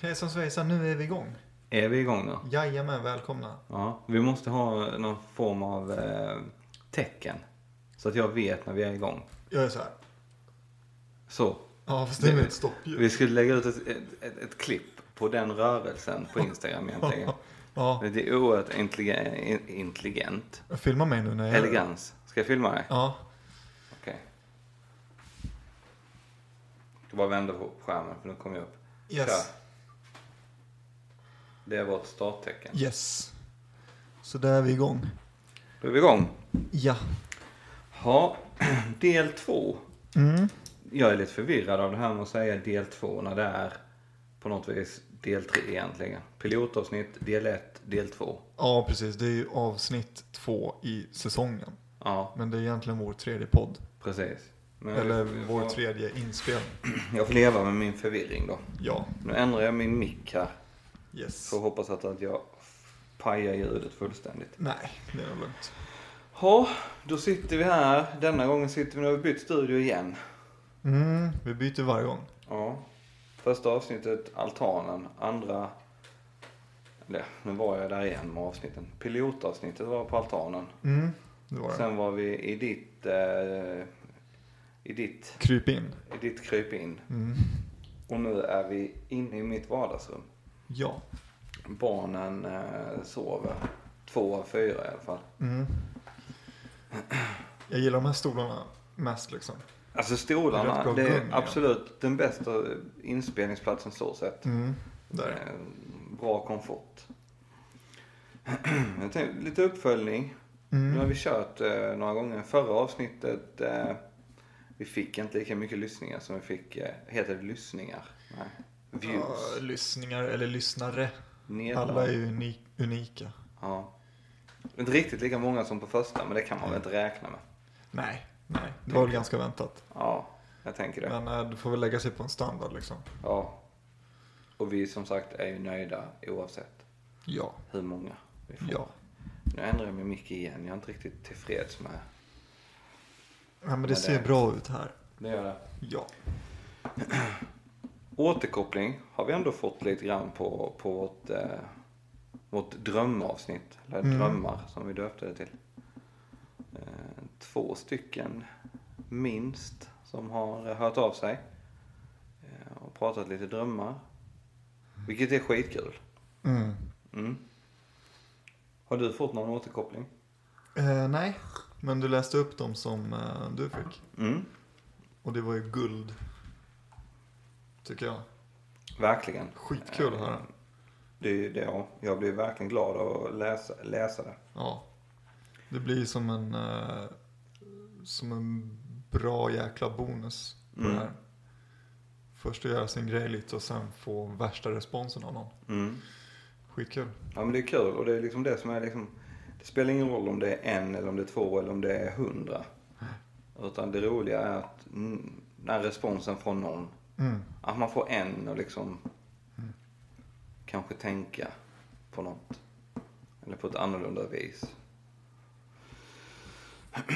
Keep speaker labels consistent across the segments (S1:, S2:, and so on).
S1: Hejsan svejsan, nu är vi igång.
S2: Är vi igång då?
S1: Jajamän, välkomna.
S2: Ja. Vi måste ha någon form av eh, tecken. Så att jag vet när vi är igång.
S1: Jag är så här.
S2: Så.
S1: Ja, fast det är med ett stoppljud.
S2: Vi skulle lägga ut ett, ett, ett, ett klipp på den rörelsen på Instagram egentligen.
S1: Ja,
S2: Det är oerhört intelligen- in- intelligent.
S1: filma mig nu när jag
S2: Elegans. Ska jag filma dig?
S1: Ja,
S2: Okej. Jag ska bara vända på skärmen för nu kommer jag upp.
S1: yes.
S2: Kör. Det är vårt starttecken.
S1: Yes. Så där är vi igång.
S2: Då är vi igång.
S1: Ja.
S2: Ja, del två.
S1: Mm.
S2: Jag är lite förvirrad av det här med att säga del två när det är på något vis del tre egentligen. Pilotavsnitt, del ett, del två.
S1: Ja, precis. Det är ju avsnitt två i säsongen.
S2: Ja,
S1: Men det är egentligen vår tredje podd.
S2: precis. Men
S1: Eller
S2: jag,
S1: vår
S2: får,
S1: tredje inspelning.
S2: jag får leva med min förvirring då.
S1: Ja,
S2: Nu ändrar jag min mick här.
S1: yes.
S2: Så hoppas att, att jag pajar ljudet fullständigt.
S1: Nej, det är nog lugnt.
S2: Ja, då sitter vi här. Denna gången sitter vi, nu har vi bytt studio igen.
S1: Mm, vi byter varje gång.
S2: Ja. Första avsnittet, altanen. Andra... Eller, nu var jag där igen med avsnitten. Pilotavsnittet var på altanen.
S1: Mm, det var det.
S2: Sen var vi i ditt... Eh, I ditt...
S1: Kryp in.
S2: I ditt kryp in.
S1: Mm.
S2: Och nu är vi inne i mitt vardagsrum.
S1: Ja.
S2: Barnen eh, sover. Två av fyra i alla fall.
S1: Mm. Jag gillar de här stolarna mest liksom.
S2: Alltså
S1: Rätt bra
S2: stolarna, det är
S1: gung, ja.
S2: absolut den bästa inspelningsplatsen så sett.
S1: Mm. Där.
S2: Eh, Bra komfort. Jag tänkte, lite uppföljning. Nu har
S1: Mm.
S2: vi kört eh, några gånger. Förra avsnittet, eh, vi fick inte lika mycket lyssningar som vi fick, eh, heter det lyssningar? Nej.
S1: Ja,
S2: Views.
S1: lyssningar eller lyssnare.
S2: Nedlag.
S1: Alla är ju uni- unika.
S2: Ja. Inte riktigt lika många som på första, men det kan man väl inte räkna med.
S1: Nej, nej. Det var väl ganska väntat.
S2: Ja, jag tänker det.
S1: Men eh, du får väl lägga sig på en standard liksom.
S2: Ja. Och vi som sagt är ju nöjda oavsett
S1: Ja,
S2: hur många vi får.
S1: ja.
S2: Nu ändrar jag mig mycket igen. Jag är inte riktigt tillfreds med
S1: Nej, men
S2: det
S1: det ser
S2: är-
S1: bra ut här.
S2: det. Gör det.
S1: Ja.
S2: Återkoppling har vi ändå fått lite grann på, på vårt, eh, vårt drömavsnitt. Eller
S1: Mm.
S2: drömmar som vi döpte det till. Eh, två stycken minst som har hört av sig. Eh, och pratat lite drömmar. Vilket är skitkul.
S1: Mm.
S2: Mm. Har du fått någon återkoppling?
S1: Eh, nej, men du läste upp dem som eh, du fick.
S2: Mm.
S1: Och det var ju guld. Tycker jag.
S2: Verkligen.
S1: Skitkul att höra.
S2: Det, är ju det, ja. jag blir verkligen glad av att läsa, läsa det.
S1: Ja. Det blir som en, eh, som en bra jäkla bonus på
S2: Mm.
S1: det här. Först att göra sin grej lite och sen få värsta responsen av någon.
S2: Mm.
S1: Skitkul.
S2: Ja men det är kul och det är liksom det som är liksom, det spelar ingen roll om det är en eller om det är två eller om det är hundra. Utan det roliga är att mm, när responsen från någon,
S1: Mm.
S2: att man får en och liksom kanske tänka på något. Eller på ett annorlunda vis.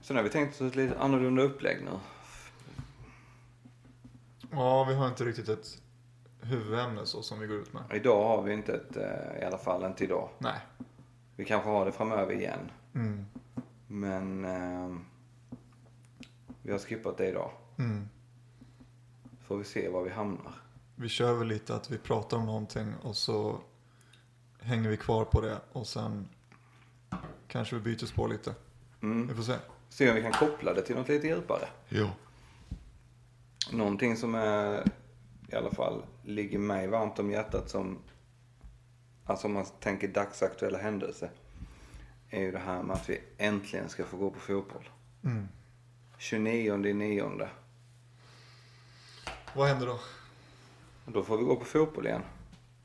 S2: Sen har vi tänkt oss ett lite annorlunda upplägg nu.
S1: Ja, vi har inte riktigt ett huvudämne så som vi går ut med.
S2: Idag har vi inte ett, eh, i alla fall inte idag.
S1: Nej.
S2: Vi kanske har det framöver igen.
S1: Mm.
S2: Men ehm, vi har skippat det idag.
S1: Mm.
S2: Får vi se var vi hamnar.
S1: Vi kör väl lite att vi pratar om någonting och så hänger vi kvar på det och sen kanske vi byter spår lite. Vi
S2: Mm.
S1: får se.
S2: Se om vi kan koppla det till något lite djupare.
S1: Ja.
S2: Någonting som är, i alla fall ligger mig varmt om hjärtat som, alltså om man tänker dagsaktuella händelser, är ju det här med att vi äntligen ska få gå på fotboll.
S1: Mm.
S2: 29 i nionde.
S1: Vad händer då?
S2: Då får vi gå på fotboll igen.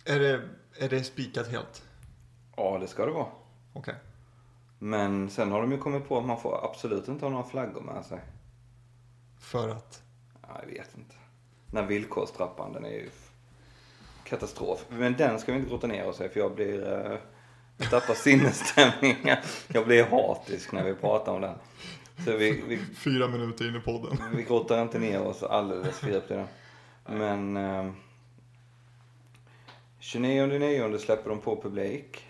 S1: Är det, är det spikat helt?
S2: Ja, det ska det vara.
S1: Okej.
S2: Men sen har de ju kommit på att man får absolut inte ha några flaggor med sig.
S1: För att?
S2: Ja, jag vet inte. Den här villkorstrappan, den är ju f- katastrof. Men den ska vi inte grotta ner oss i för jag blir... eh, Jag tappar sinnesstämningen. Jag blir hatisk när vi pratar om den. Så vi, vi,
S1: Fyra minuter in i podden.
S2: vi grottar inte ner oss alldeles för djupt i den. Men... eh, 29.9 släpper de på publik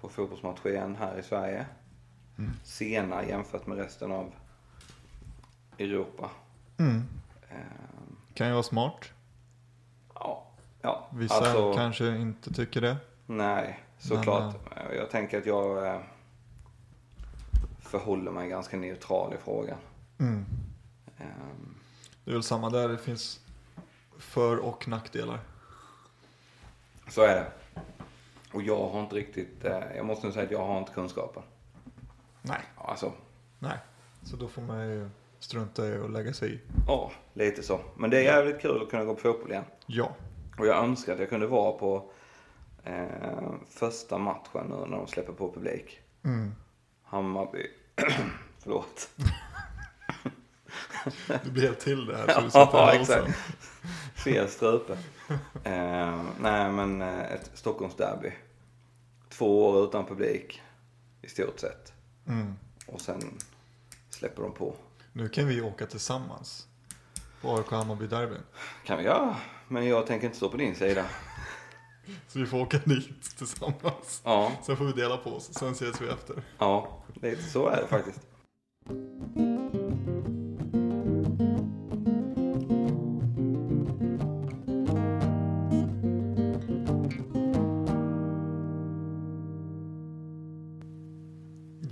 S2: på fotbollsmatch igen här i Sverige.
S1: Mm.
S2: Sena jämfört med resten av Europa.
S1: Mm.
S2: Ehm,
S1: Kan ju vara smart.
S2: Ja, ja. alltså,
S1: Vissa kanske inte tycker det.
S2: Nej, såklart. Jag tänker att jag eh, förhåller mig ganska neutral i frågan.
S1: Mm.
S2: Ehm,
S1: Det är väl samma där, det finns för och nackdelar.
S2: Så är det. Och jag har inte riktigt, eh, jag måste nog säga att jag har inte kunskapen.
S1: Nej.
S2: Ja, Alltså,
S1: Nej. Så då får man ju strunta i att lägga sig i.
S2: ja, lite så. Men det är jävligt kul att kunna gå på fotboll igen.
S1: Ja.
S2: Och jag önskar att jag kunde vara på eh, första matchen nu när de släpper på publik.
S1: Mm.
S2: Hammarby. Förlåt.
S1: Du blev till det här så du satte
S2: ja,
S1: i halsen.
S2: exakt. Fel strupe. eh, nej, men eh, ett Stockholmsderby. Två år utan publik, i stort sett.
S1: Mm.
S2: Och sen släpper de på.
S1: Nu kan vi åka tillsammans. På AIK Hammarby-derbyn.
S2: kan vi göra, men jag tänker inte stå på din sida.
S1: Så vi får åka dit tillsammans.
S2: Ja,
S1: Sen får vi dela på oss, sen ses vi efter.
S2: ja, lite så är det faktiskt.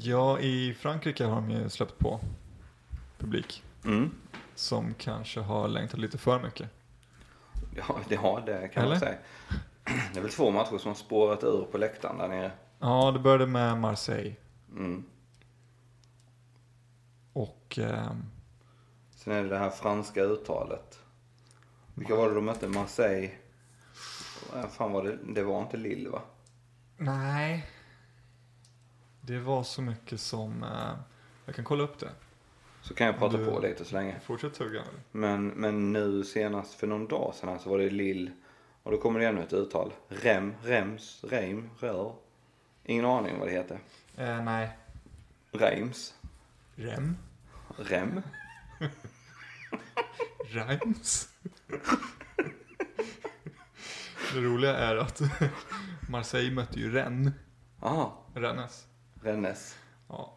S1: Ja, i Frankrike har de ju släppt på publik.
S2: Mm.
S1: Som kanske har längtat lite för mycket.
S2: Ja, det, ja, det kan
S1: Eller?
S2: man säga. Det är väl två matcher som har spårat ur på läktaren där nere.
S1: Ja, det började med Marseille.
S2: Mm.
S1: Och ehm,
S2: Sen är det det här franska uttalet. Vilka var det de mötte? Marseille? Vad Fan var det? Det var inte Lille va?
S1: nej. Det var så mycket som... Eh, jag kan kolla upp det.
S2: Så kan jag prata
S1: Du-
S2: på lite så länge.
S1: Fortsätt tugga. nu.
S2: Men, men nu senast för någon dag sedan här så var det Lill. Och då kommer det ännu ett uttal. Rem, rems, reim, rör. Ingen aning vad det heter.
S1: Eh, nej.
S2: Reims.
S1: Rem.
S2: Rem.
S1: Rhymes. det roliga är att Marseille mötte ju Rennes.
S2: Aha,
S1: Rennes.
S2: Rennes.
S1: Ja.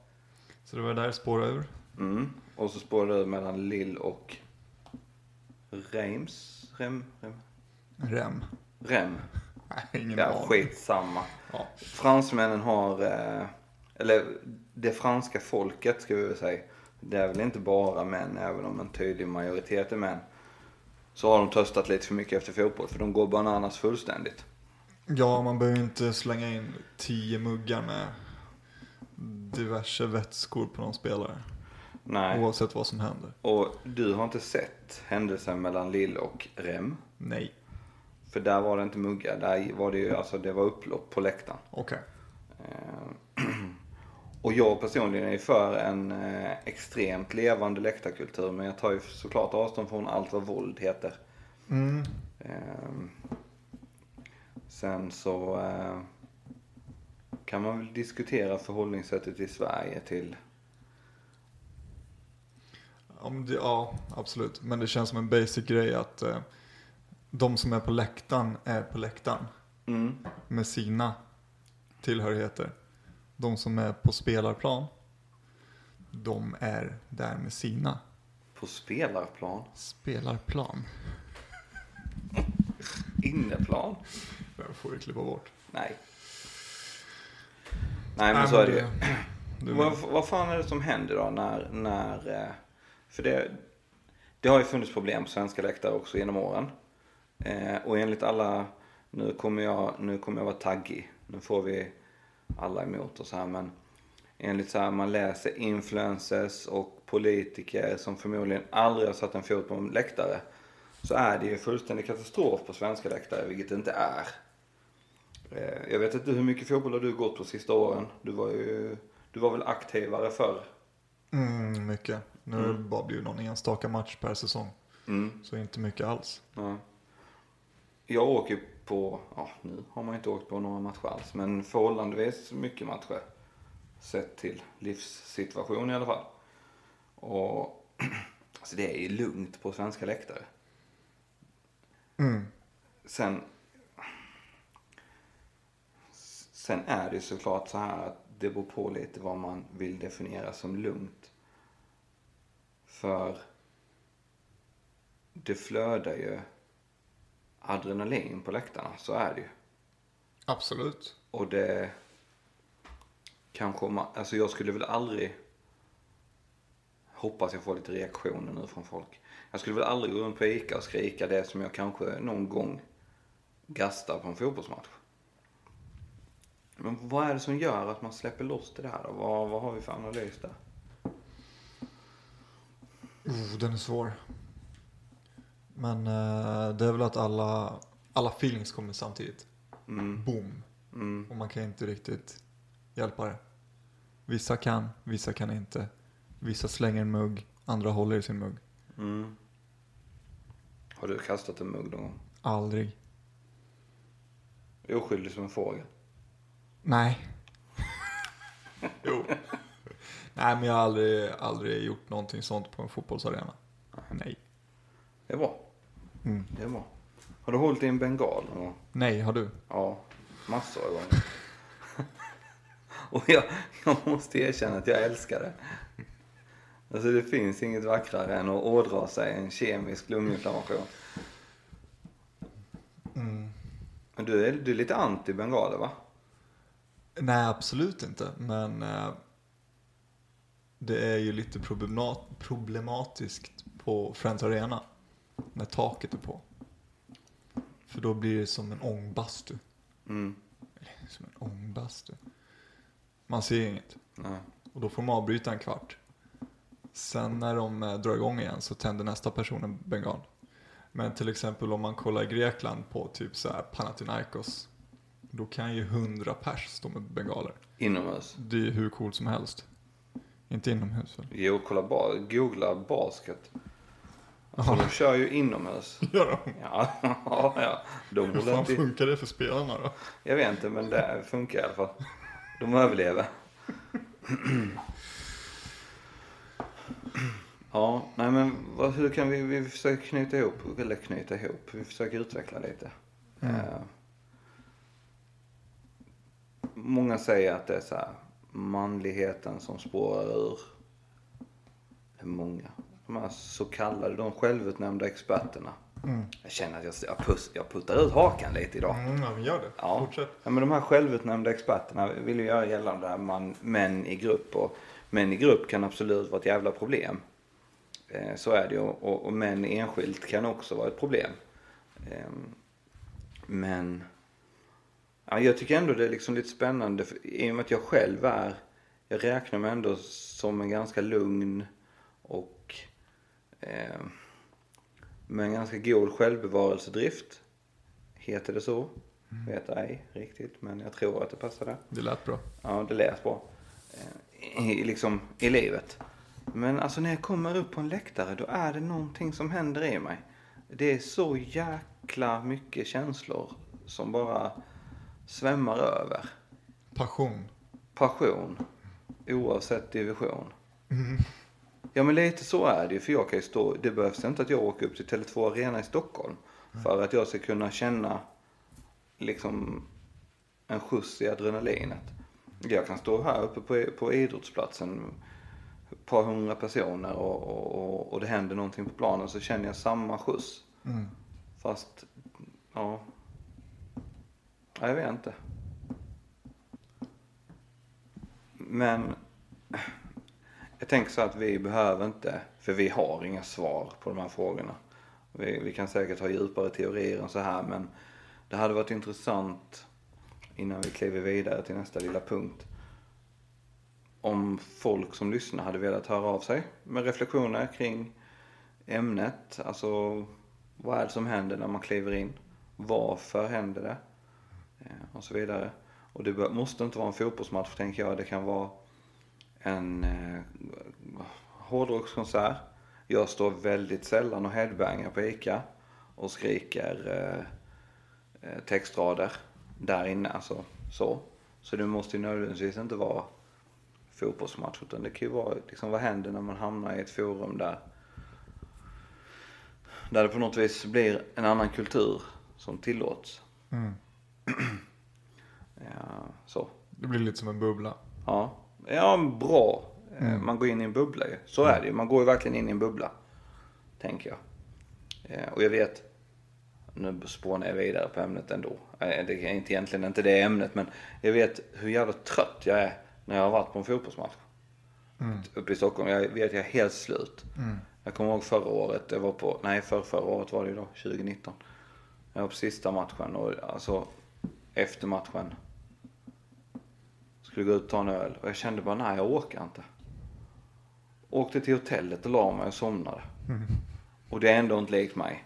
S1: Så det var där det spårade ur.
S2: Mm. Och så spårade det mellan Lill och Reims. Rem, rem.
S1: Rem.
S2: Rem.
S1: Nej, ingen
S2: Ja, skitsamma.
S1: Ja.
S2: Fransmännen har, eh, eller det franska folket ska vi väl säga, det är väl inte bara män, även om en tydlig majoritet är män, så har de töstat lite för mycket efter fotboll, för de går bananas fullständigt.
S1: ja, man behöver ju inte slänga in tio muggar med diverse vätskor på någon spelare.
S2: Nej,
S1: Oavsett vad som händer.
S2: och du har inte sett händelsen mellan Lill och Rem,
S1: Nej.
S2: för där var det inte muggar, där var det ju, alltså det var upplopp på läktaren.
S1: Okej.
S2: Eh, Och jag personligen är för en eh, extremt levande läktarkultur, men jag tar ju såklart avstånd från allt vad våld heter.
S1: Mm.
S2: Ehm, Sen så eh, kan man väl diskutera förhållningssättet i Sverige till...
S1: Ja, men det, ja, absolut. Men det känns som en basic grej att eh, de som är på läktaren är på läktaren.
S2: Mm.
S1: med sina tillhörigheter. De som är på spelarplan, de är där med sina
S2: På spelarplan?
S1: spelarplan.
S2: Inneplan?
S1: Det får vi klippa bort.
S2: Nej. Nej men så är det ju.
S1: Du,
S2: Vad, vad fan är det som händer då när... när eh, för det, det har ju funnits problem på svenska läktare också genom åren. Eh, och enligt alla... Nu kommer, jag, nu kommer jag vara taggig. Nu får vi alla emot oss här. Men enligt så här, man läser influencers och politiker som förmodligen aldrig har satt en fot på en läktare. Så är det ju fullständig katastrof på svenska läktare, vilket det inte är. Eh, Jag vet inte hur mycket fotboll har du gått på sista åren? Du var ju, du var väl aktivare förr?
S1: mm, mycket. Nu har det bara blivit någon enstaka match per säsong.
S2: Mm.
S1: Så inte mycket alls.
S2: Ja. Jag åker ju på, ja nu har man ju inte åkt på några matcher alls, men förhållandevis mycket matcher. Sett till livssituation i alla fall. Och alltså det är ju lugnt på svenska läktare.
S1: Mm.
S2: Sen, Sen är det ju såklart så här att det beror på lite vad man vill definiera som lugnt. För det flödar ju adrenalin på läktarna, så är det ju.
S1: Absolut.
S2: Och det kanske man, alltså jag skulle väl aldrig hoppas jag får lite reaktioner nu från folk. Jag skulle väl aldrig gå runt på Ica och skrika det som jag kanske någon gång gastar på en fotbollsmatch. Men vad är det som gör att man släpper loss det där då? Vad, vad har vi för analys där?
S1: Oh, den är svår. Men eh, det är väl att alla, alla feelings kommer samtidigt.
S2: Mm,
S1: Boom.
S2: mm,
S1: Och man kan inte riktigt hjälpa det. Vissa kan, vissa kan inte. Vissa slänger en mugg, andra håller i sin mugg.
S2: mm. Har du kastat en mugg någon gång?
S1: Aldrig.
S2: Oskyldig som en fågel.
S1: Nej. jo. Nej, men jag har aldrig, aldrig gjort någonting sånt på en fotbollsarena. Nej.
S2: Det är bra.
S1: Mm.
S2: Det är bra. Har du hållit i en bengal någon gång?
S1: Nej, har du?
S2: Ja, massor av gånger. Och jag, jag måste erkänna att jag älskar det. Alltså det finns inget vackrare än att ådra sig en kemisk lunginflammation. Men du är, du är lite anti bengaler va?
S1: Nej, absolut inte. Men eh, det är ju lite problemat- problematiskt på Friends Arena när taket är på. För då blir det som en ångbastu.
S2: Mm.
S1: Eller, Som en ångbastu. Man ser inget.
S2: Nej.
S1: Och då får de avbryta en kvart. Sen när de eh, drar igång igen så tänder nästa person en bengal. Men till exempel om man kollar Grekland på typ så här Panathinaikos. Då kan ju hundra pers stå med bengaler.
S2: Inomhus.
S1: Det är hur coolt som helst. Inte inomhus väl?
S2: Jo, kolla ba, googla basket. Alltså,
S1: Jaha.
S2: de kör ju inomhus.
S1: Gör de?
S2: Ja, ja, ja. De
S1: Hur
S2: håller
S1: fan
S2: inte...
S1: funkar det för spelarna då?
S2: Jag vet inte, men det funkar i alla fall. De överlever. Ja, nej men vad, hur kan vi, vi försöker knyta ihop, eller knyta ihop, vi försöker utveckla lite. Eh, många säger att det är så här, manligheten som spårar ur. Det är många. De här så kallade, de självutnämnda experterna. Jag känner att jag, jag, puss, jag puttar ut hakan lite idag.
S1: Mm, ja, men gör det.
S2: Ja.
S1: Fortsätt.
S2: ja, men de här självutnämnda experterna vill ju göra gällande att man män i grupp och män i grupp kan absolut vara ett jävla problem. Eh, så är det ju och, och män enskilt kan också vara ett problem. Eh, men ja, jag tycker ändå det är liksom lite spännande för, i och med att jag själv är, jag räknar mig ändå som en ganska lugn och eh, med en ganska god självbevarelsedrift. Heter det så? Vet ej riktigt, men jag tror att det passar där.
S1: Det lät bra.
S2: Ja, det lät bra. Eh, I, liksom, i livet. Men alltså när jag kommer upp på en läktare, då är det någonting som händer i mig. Det är så jäkla mycket känslor som bara svämmar över.
S1: Passion.
S2: Passion, oavsett division. Ja men lite så är det ju, för jag kan ju stå, det behövs inte att jag åker upp till Tele2 Arena i Stockholm för att jag ska kunna känna liksom en skjuts i adrenalinet. Jag kan stå här uppe på, på idrottsplatsen, ett par hundra personer och, och, och, och det händer någonting på planen så känner jag samma skjuts.
S1: Mm.
S2: Fast, ja. ja jag vet inte. Men jag tänker så att vi behöver inte, för vi har inga svar på de här frågorna. Vi, vi kan säkert ha djupare teorier än så här, men det hade varit intressant innan vi kliver vidare till nästa lilla punkt. Om folk som lyssnar hade velat höra av sig med reflektioner kring ämnet. Alltså, vad är det som händer när man kliver in? Varför händer det? Eh, Och så vidare. Och det bör- måste inte vara en fotbollsmatch, tänker jag. Det kan vara en eh, hårdrockskonsert. Jag står väldigt sällan och headbangar på ICA och skriker eh, eh, textrader där inne. Alltså, så. så det måste ju nödvändigtvis inte vara fotbollsmatch utan det kan ju vara liksom, vad händer när man hamnar i ett forum där där det på något vis blir en annan kultur som tillåts.
S1: Mm.
S2: Ja, så.
S1: Det blir lite som en bubbla.
S2: Ja, ja bra. Eh, Man går in i en bubbla ju. Så är det ju. Man går ju verkligen in i en bubbla. Tänker jag. Eh, Och jag vet. Nu spånar jag vidare på ämnet ändå. Eh, Det är inte egentligen inte det ämnet men. Jag vet hur jävla trött jag är. När jag har varit på en fotbollsmatch. Uppe i Stockholm. Jag vet jag är helt slut. Jag kommer ihåg förra året. Jag var på. Nej för förra året var det ju då. 2019. Jag var på sista matchen och alltså. Efter matchen skulle gå ut och ta en öl och jag kände bara nej jag åker inte. Åkte till hotellet och la mig och somnade. Och det är ändå inte likt mig.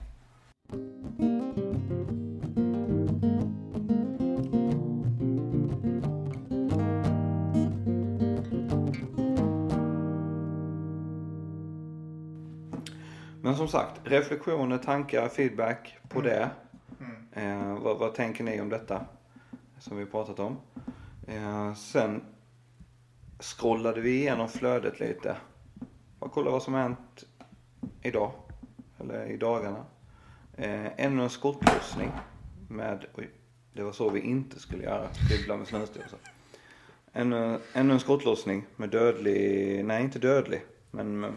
S2: Men som sagt, reflektioner, tankar, feedback på det. Eh, vad, vad tänker ni om detta? Som vi pratat om. Eh, sen scrollade vi igenom flödet lite. Bara kolla vad som har hänt idag. Eller i dagarna. Eh, ännu en skottlossning. Med, oj, det var så vi inte skulle göra. Dribbla med snöstosor. Ännu, ännu en skottlossning med dödlig, nej inte dödlig, men mm,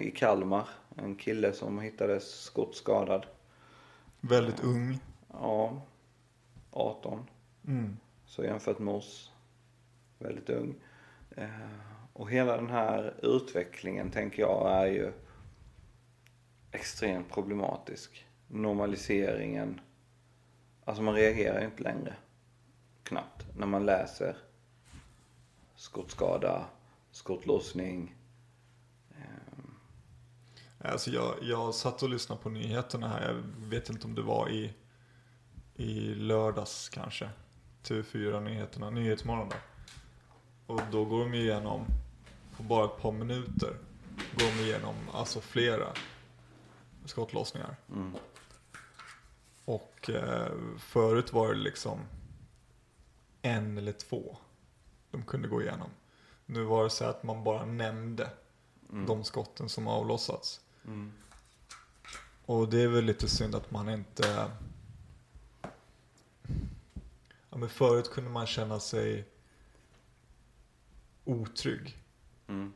S2: i Kalmar. En kille som hittades skottskadad.
S1: Väldigt ung.
S2: Ja, 18.
S1: Mm.
S2: Så jämfört med oss, väldigt ung. Eh, Och hela den här utvecklingen tänker jag är ju extremt problematisk. Normaliseringen. Alltså man reagerar ju inte längre. Knappt. När man läser skottskada, skottlossning.
S1: Alltså jag, jag satt och lyssnade på nyheterna här. Jag vet inte om det var i, i lördags kanske. TV4 Nyheterna, Nyhetsmorgon där. Och då går de igenom, på bara ett par minuter, går de igenom alltså flera skottlossningar.
S2: Mm.
S1: Och eh, förut var det liksom en eller två de kunde gå igenom. Nu var det så att man bara nämnde de skotten som avlossats.
S2: Mm.
S1: Och det är väl lite synd att man inte... Ja, men förut kunde man känna sig otrygg
S2: Mm.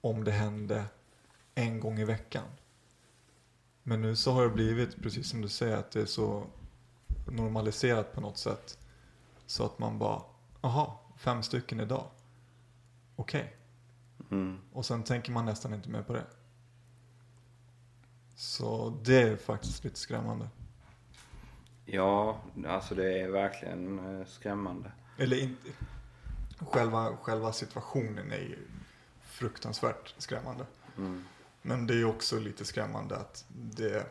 S1: om det hände en gång i veckan. Men nu så har det blivit, precis som du säger, att det är så normaliserat på något sätt. Så att man bara, aha, fem stycken idag. Okej.
S2: Mm.
S1: Och sen tänker man nästan inte mer på det. Så det är faktiskt lite skrämmande.
S2: Ja, alltså det är verkligen eh, skrämmande.
S1: Eller inte... Själva, själva situationen är ju fruktansvärt skrämmande.
S2: Mm.
S1: Men det är ju också lite skrämmande att det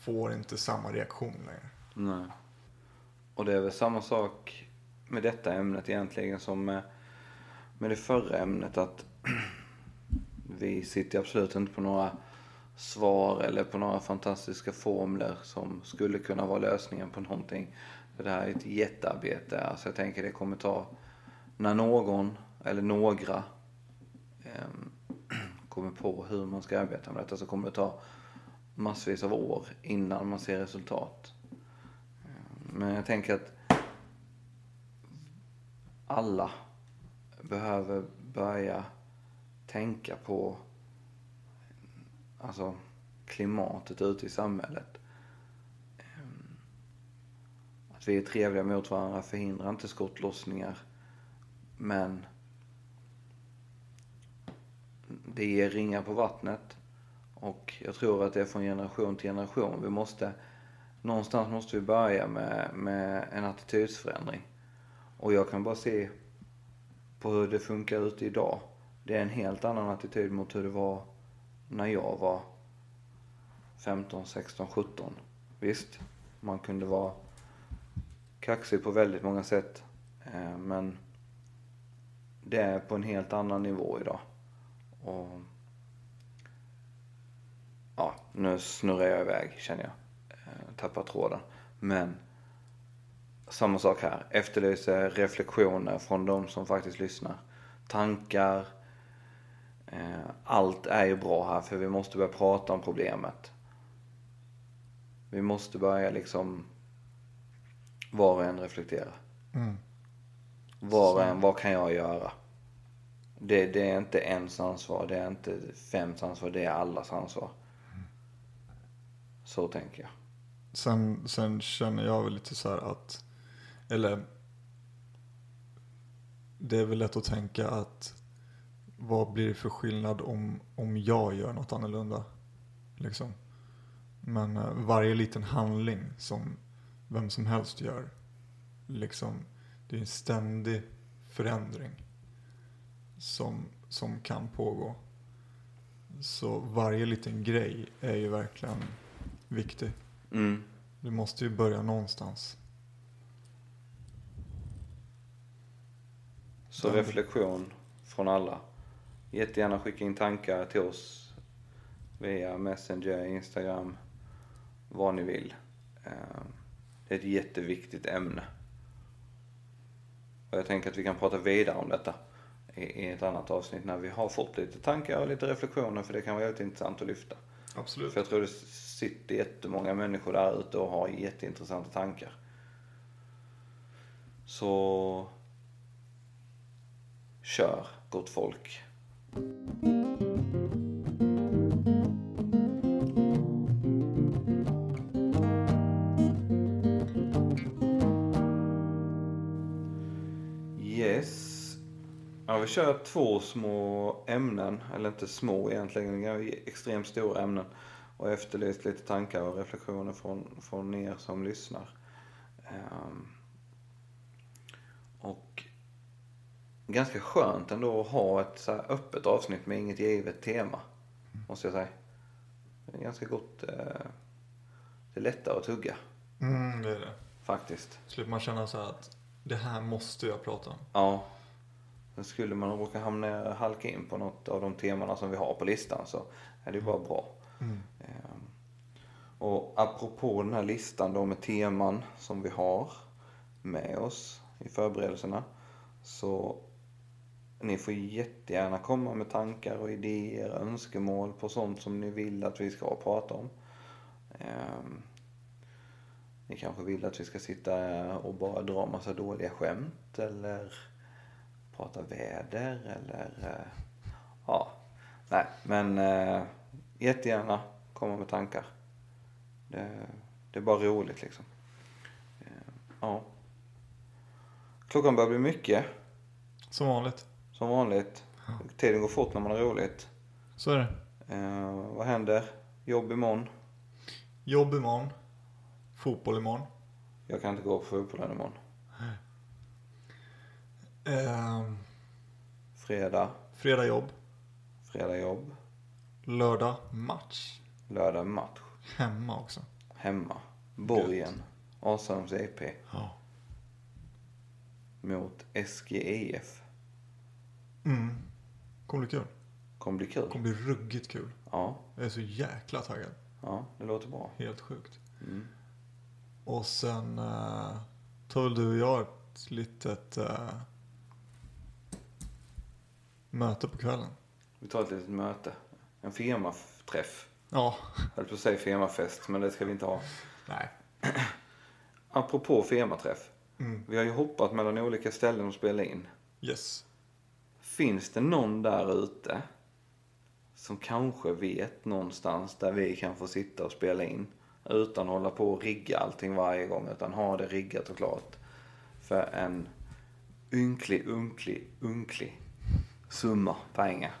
S1: får inte samma reaktion längre.
S2: Nej. Och det är väl samma sak med detta ämnet egentligen som med, med det förra ämnet att vi sitter absolut inte på några svar eller på några fantastiska formler som skulle kunna vara lösningen på någonting. För det här är ett jättearbete. Alltså jag tänker det kommer ta när någon eller några ehm, kommer på hur man ska arbeta med detta så kommer det ta massvis av år innan man ser resultat. Men jag tänker att alla behöver börja tänka på alltså, klimatet ute i samhället. Ehm, Att vi är trevliga mot varandra förhindrar inte skottlossningar. Men det ger ringar på vattnet. Och jag tror att det är från generation till generation. Vi måste, någonstans måste vi börja med, med en attitydsförändring. Och jag kan bara se på hur det funkar ute idag. Det är en helt annan attityd mot hur det var när jag var 15, 16, 17. Visst, man kunde vara kaxig på väldigt många sätt. eh, Men det är på en helt annan nivå idag. Och ja, nu snurrar jag iväg känner jag. Eh, Tappar tråden. Men samma sak här. Efterlyser reflektioner från de som faktiskt lyssnar. Tankar. Eh, Allt är ju bra här för vi måste börja prata om problemet. Vi måste börja liksom Var och en reflektera.
S1: Mm.
S2: Var och en, vad kan jag göra? Det, det är inte ens ansvar, det är inte fems ansvar, det är allas ansvar. Så tänker jag.
S1: Sen, sen känner jag väl lite så här att, eller det är väl lätt att tänka att vad blir det för skillnad om, om jag gör något annorlunda? Liksom. Men eh, varje liten handling som vem som helst gör, liksom, det är en ständig förändring som, som kan pågå. Så varje liten grej är ju verkligen viktig.
S2: Mm.
S1: Du måste ju börja någonstans.
S2: Så reflektion från alla. Jättegärna skicka in tankar till oss via Messenger, Instagram, vad ni vill. Eh, Det är ett jätteviktigt ämne. Och jag tänker att vi kan prata vidare om detta i i ett annat avsnitt när vi har fått lite tankar och lite reflektioner för det kan vara väldigt intressant att lyfta.
S1: Absolut.
S2: För jag tror det sitter jättemånga människor där ute och har jätteintressanta tankar. Så kör, gott folk. Yes. Ja, vi kör två små ämnen, eller inte små egentligen, det är extremt stora ämnen. Och efterlyst lite tankar och reflektioner från, från er som lyssnar. Ehm. och ganska skönt ändå att ha ett så här öppet avsnitt med inget givet tema, måste jag säga. Det är ganska gott, eh, det är lättare att tugga
S1: Mm, det är det.
S2: faktiskt.
S1: Slipper man känna så här att det här måste jag prata om.
S2: Ja. Sen skulle man råka hamna, halka in på något av de temana som vi har på listan så är det ju bara bra. Ehm, Och apropå den här listan då med teman som vi har med oss i förberedelserna. Så ni får jättegärna komma med tankar och idéer, önskemål på sånt som ni vill att vi ska prata om. Ehm, Ni kanske vill att vi ska sitta och bara dra massa dåliga skämt eller prata väder eller... eh, Ja, nej, men eh, jättegärna komma med tankar. Det, det är bara roligt liksom. Eh, Ja. Klockan börjar bli mycket,
S1: Som vanligt.
S2: som vanligt. Tiden går fort när man har roligt.
S1: Så är det.
S2: Eh, vad händer? Jobb imorgon.
S1: Jobb imorgon. Fotboll imorgon.
S2: Jag kan inte gå på fotbollen imorgon.
S1: Ehm,
S2: Fredag,
S1: fredag jobb.
S2: fredag jobb.
S1: Lördag match.
S2: Lördag match.
S1: Hemma också.
S2: Hemma. Borgen. Asams EP.
S1: Ja.
S2: Mot E SGIF.
S1: Mm. Kommer bli kul.
S2: Kommer bli kul.
S1: Kommer bli ruggigt kul.
S2: Ja,
S1: Jag är så jäkla taggad.
S2: ja, det låter bra.
S1: Helt sjukt.
S2: Mm.
S1: Och sen eh, tar väl du och jag ett litet eh, möte på kvällen.
S2: Vi tar ett litet möte. En firmaträff.
S1: Ja.
S2: Jag höll på att säga firmafest, men det ska vi inte ha.
S1: Nej.
S2: Apropå firmaträff.
S1: Mm.
S2: Vi har ju hoppat mellan olika ställen och spelat in.
S1: Yes.
S2: Finns det någon där ute som kanske vet någonstans där vi kan få sitta och spela in utan att hålla på och rigga allting varje gång utan ha det riggat och klart för en ynklig, unklig, unklig summa pengar.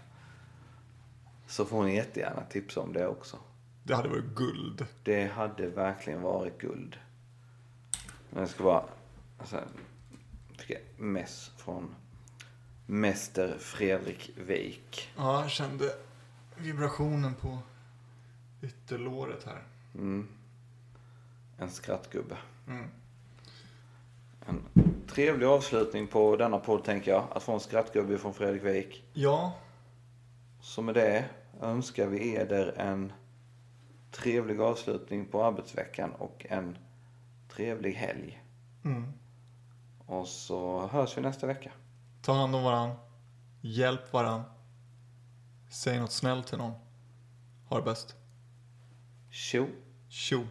S2: Så får ni jättegärna tipsa om det också.
S1: Det hade varit guld.
S2: Det hade verkligen varit guld. Men jag ska bara... Alltså, fick jag mess från Mäster Fredrik Wijk.
S1: Ja, jag kände vibrationen på ytterlåret här.
S2: Mm. En skrattgubbe.
S1: Mm.
S2: En trevlig avslutning på denna podd tänker jag. Att få en skrattgubbe från Fredrik Wijk.
S1: Ja,
S2: Så med det önskar vi eder en trevlig avslutning på arbetsveckan och en trevlig helg.
S1: mm.
S2: Och så hörs vi nästa vecka.
S1: ta hand om varann. Hjälp varann. Säg något snällt till någon. Ha det bäst.
S2: Tjo!
S1: Tjo!